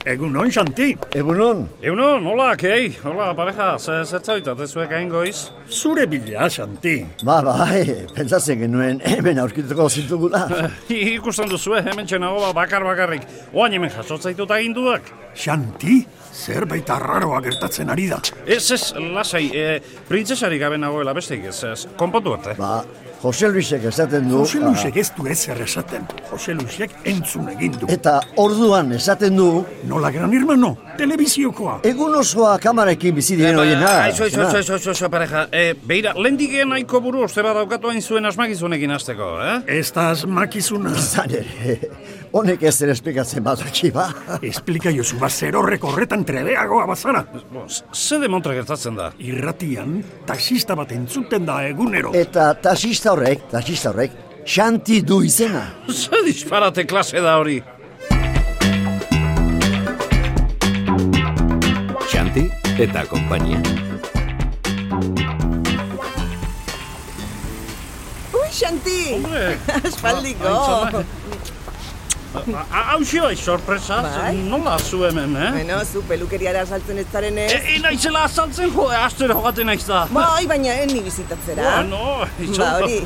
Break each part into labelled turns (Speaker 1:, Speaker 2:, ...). Speaker 1: Egun hon, Xanti.
Speaker 2: Egunon,
Speaker 3: Eunon, hola, kei, hola, pareja, ze zertzauta, zuek hain goiz?
Speaker 1: Zure bila, Xanti.
Speaker 2: ba, bai, pentsatzen genuen hemen aurkituko zintugula.
Speaker 3: I- Ikusten duzue, hemen txenago ba, bakar bakarrik, oain hemen jasotzaituta ginduak.
Speaker 1: Xanti, zerbait arraroa gertatzen ari da.
Speaker 3: Ez, ez, lasai, e, printzesari gabe nagoela besteik ez, ez, konpontu arte.
Speaker 2: Ba, Jose Luisek esaten du...
Speaker 1: Jose Luisek ez du ezer esaten. Jose Luisek entzun egin du.
Speaker 2: ba, Eta orduan esaten du,
Speaker 1: Nola gran hermano, telebiziokoa.
Speaker 2: egun osoa kamarekin bizi diren hoien
Speaker 3: Ah, Aizu, aizu, aizu, aizu, aizu, aizu, pareja, e, beira, lendigen nahiko buru ostera daukatu hain zuen asmakizunekin hasteko, eh?
Speaker 1: Ez da asmakizuna.
Speaker 2: Zan ere, honek ez ere esplikatzen badaki, ba.
Speaker 1: Esplika jozu bat ba, zer horrek horretan trebeagoa bazara.
Speaker 3: Bo, z- ze demontra gertatzen da?
Speaker 1: Irratian, taxista bat entzuten da egunero.
Speaker 2: Eta taxista horrek, taxista horrek, xanti du izena.
Speaker 3: Ze disparate klase da hori?
Speaker 4: Xanti eta konpainia.
Speaker 5: Ui, Xanti!
Speaker 3: Hombre,
Speaker 5: Aspaldiko!
Speaker 3: Hain zama- A- a- Hauxi bai, sorpresa,
Speaker 5: Bai.
Speaker 3: nola zu hemen, eh?
Speaker 5: Bueno, zu pelukeriara saltzen ez zaren ez.
Speaker 3: E, e naizela azaltzen jo, astero jogaten naiz da.
Speaker 5: Bai, baina ez ni bizitatzera.
Speaker 3: Bueno, itxo.
Speaker 5: Ba, hori,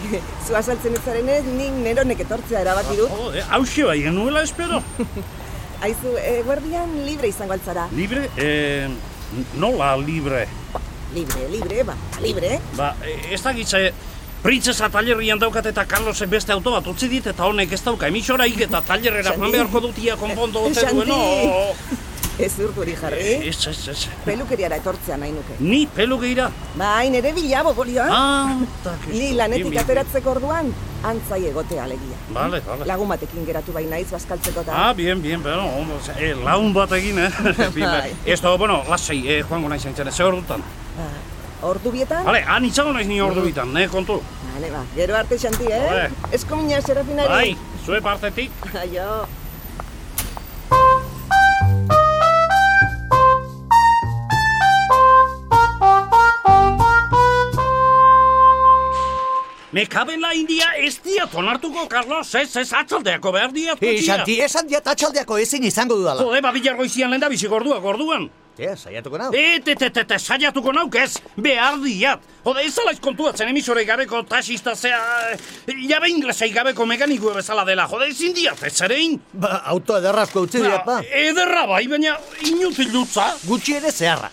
Speaker 5: zu azaltzen ez zaren ez, nik neronek etortzea erabaki dut.
Speaker 3: Jode, hauxe bai, genuela espero.
Speaker 5: Aizu, eh, guardian libre izango altzara.
Speaker 3: Libre, eh, nola libre?
Speaker 5: Libre, libre, ba, libre.
Speaker 3: Ba, e, ez dakitze, printzesa talerrian daukat eta Carlosen beste auto bat utzi dit eta honek ez dauka emisoraik eta talerrera
Speaker 5: Xanti.
Speaker 3: joan beharko dutia konpondo ote
Speaker 5: Xanti.
Speaker 3: duen, no?
Speaker 5: Ez urduri jarri.
Speaker 3: Ez, ez, ez.
Speaker 5: Pelukeriara etortzea nahi nuke.
Speaker 3: Ni pelu geira.
Speaker 5: Bai, nere bilabo bolioa.
Speaker 3: Ah, eta kristo.
Speaker 5: Ni
Speaker 3: Bien,
Speaker 5: lanetik
Speaker 3: bien,
Speaker 5: ateratzeko orduan, antzai egotea alegia.
Speaker 3: bien. Vale, vale.
Speaker 5: Lagun batekin geratu bai naiz bazkaltzeko da.
Speaker 3: Ah, bien, bien, pero ondo, ze- eh, laun bat egin, eh? Bien,
Speaker 5: Bai.
Speaker 3: bien. Ez da, bueno, lasai, eh, joango naiz hain txan, ze hor dutan.
Speaker 5: Ba, Ordu bietan?
Speaker 3: Hale, han itxago naiz ni ordu bitan, eh, kontu.
Speaker 5: Vale, ba. Gero arte xanti,
Speaker 3: Ole.
Speaker 5: eh? Eskomina serafinari.
Speaker 3: Bai, zue partetik.
Speaker 5: Aio.
Speaker 3: Me cabe en la India ez diat onartuko, Carlos, ez, ez atzaldeako behar diat.
Speaker 6: Ei,
Speaker 3: kutia.
Speaker 6: Xanti, esan diat atxaldeako ezin izango dudala.
Speaker 3: Jode, babilar goizian lehen da bizi gordua, gorduan.
Speaker 2: Eh,
Speaker 3: E,
Speaker 6: Ez, saiatuko nau.
Speaker 3: Et, et, et, et, et, saiatuko nauk ez, behar diat. Jode, ez alaiz kontuatzen emisorei gabeko taxista zea, eh, jabe inglesei gabeko mekanikue bezala dela. Jode, ezin diat, ez zerein.
Speaker 6: Ba, auto ederrazko utzi diat, ba.
Speaker 3: Ederra bai, baina inutil dutza.
Speaker 6: Gutxi ere zeharra.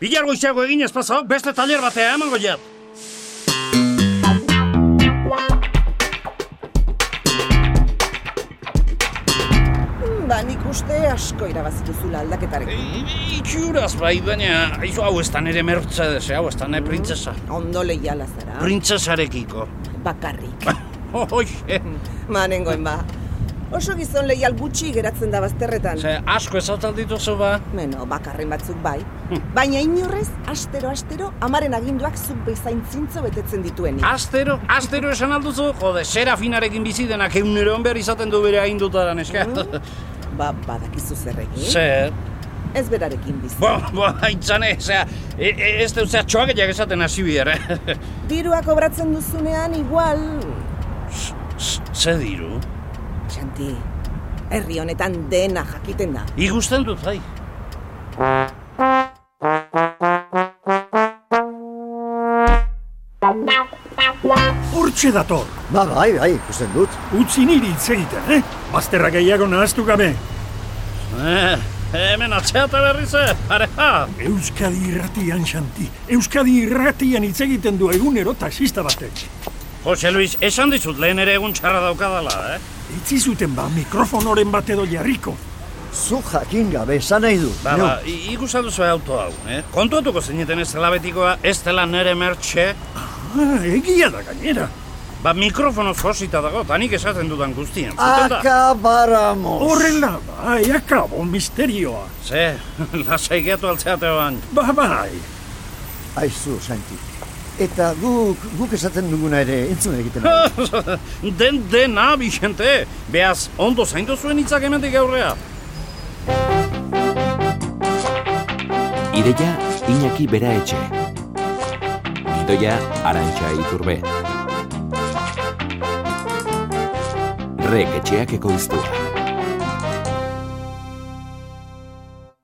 Speaker 3: Bilar goiziago egin ez pasau, beste taller batea emango jat.
Speaker 5: Mm, Ba, nik uste asko irabazituzula aldaketarekin.
Speaker 3: Itxuraz bai, baina, aizu hau ez da nere Mercedes, hau ez da nere printzesa.
Speaker 5: Ondo leiala zara.
Speaker 3: Printzesarekiko.
Speaker 5: Bakarrik.
Speaker 3: Hoxe,
Speaker 5: Manengoen ba. Oso gizon leial gutxi geratzen da bazterretan.
Speaker 3: ze asko esatal dituzu ba.
Speaker 5: Meno, bakarren batzuk bai.
Speaker 3: Hmm.
Speaker 5: Baina inorrez, astero-astero, amaren aginduak zuk bezain zintzo betetzen dituen.
Speaker 3: Astero, astero esan alduzu, jode, serafinarekin bizi denak euneron behar izaten du bere haindutaran eska.
Speaker 5: Ba, badakizu zer egin.
Speaker 3: Zer,
Speaker 5: Ez berarekin bizi.
Speaker 3: bo, bo, haintzane, zea, e, e, ez dut zea txoagetak esaten hasi bihar, eh?
Speaker 5: Dirua kobratzen duzunean, igual...
Speaker 3: Ze diru?
Speaker 5: Xanti, herri honetan dena jakiten da.
Speaker 3: Igusten dut, bai.
Speaker 1: Hortxe dator,
Speaker 2: Ba, bai, bai, ikusten dut.
Speaker 1: utzi niri hitz egiten, eh? Bazterra gehiago nahaztu gabe.
Speaker 3: Eh, hemen atxeata berriz, eh, pareja.
Speaker 1: Euskadi irratian, Xanti. Euskadi irratian hitz egiten du egunero taxista batek.
Speaker 3: Jose Luis, esan dizut lehen ere egun txarra daukadala, eh?
Speaker 1: Itzi zuten ba, mikrofonoren bat edo jarriko.
Speaker 2: Zu jakin gabe esan nahi du.
Speaker 3: Ba,
Speaker 2: Neu,
Speaker 3: ba, i- ikusa duzu auto hau, eh? Kontuatuko zineten ez dela betikoa, ez dela nere mertxe,
Speaker 1: Ah, egia da gainera.
Speaker 3: ba mikrofono josita dago, eta nik esaten dudan guztien, zuten da?
Speaker 2: Akabaramos.
Speaker 1: Horrela, bai, akabo, misterioa.
Speaker 3: Ze, lasai gehiatu altzeate ban.
Speaker 1: Ba, bai,
Speaker 2: Aizu, Santi. Eta guk, guk esaten duguna ere entzun egiten. dugu.
Speaker 3: Den, dena, Vicente, behaz, ondo zaindu zuen hitzak emendik aurrea.
Speaker 4: Ideia Iñaki Bera Etxe. Gidoia Arantxa Iturbe. Rek etxeak ekoiztua.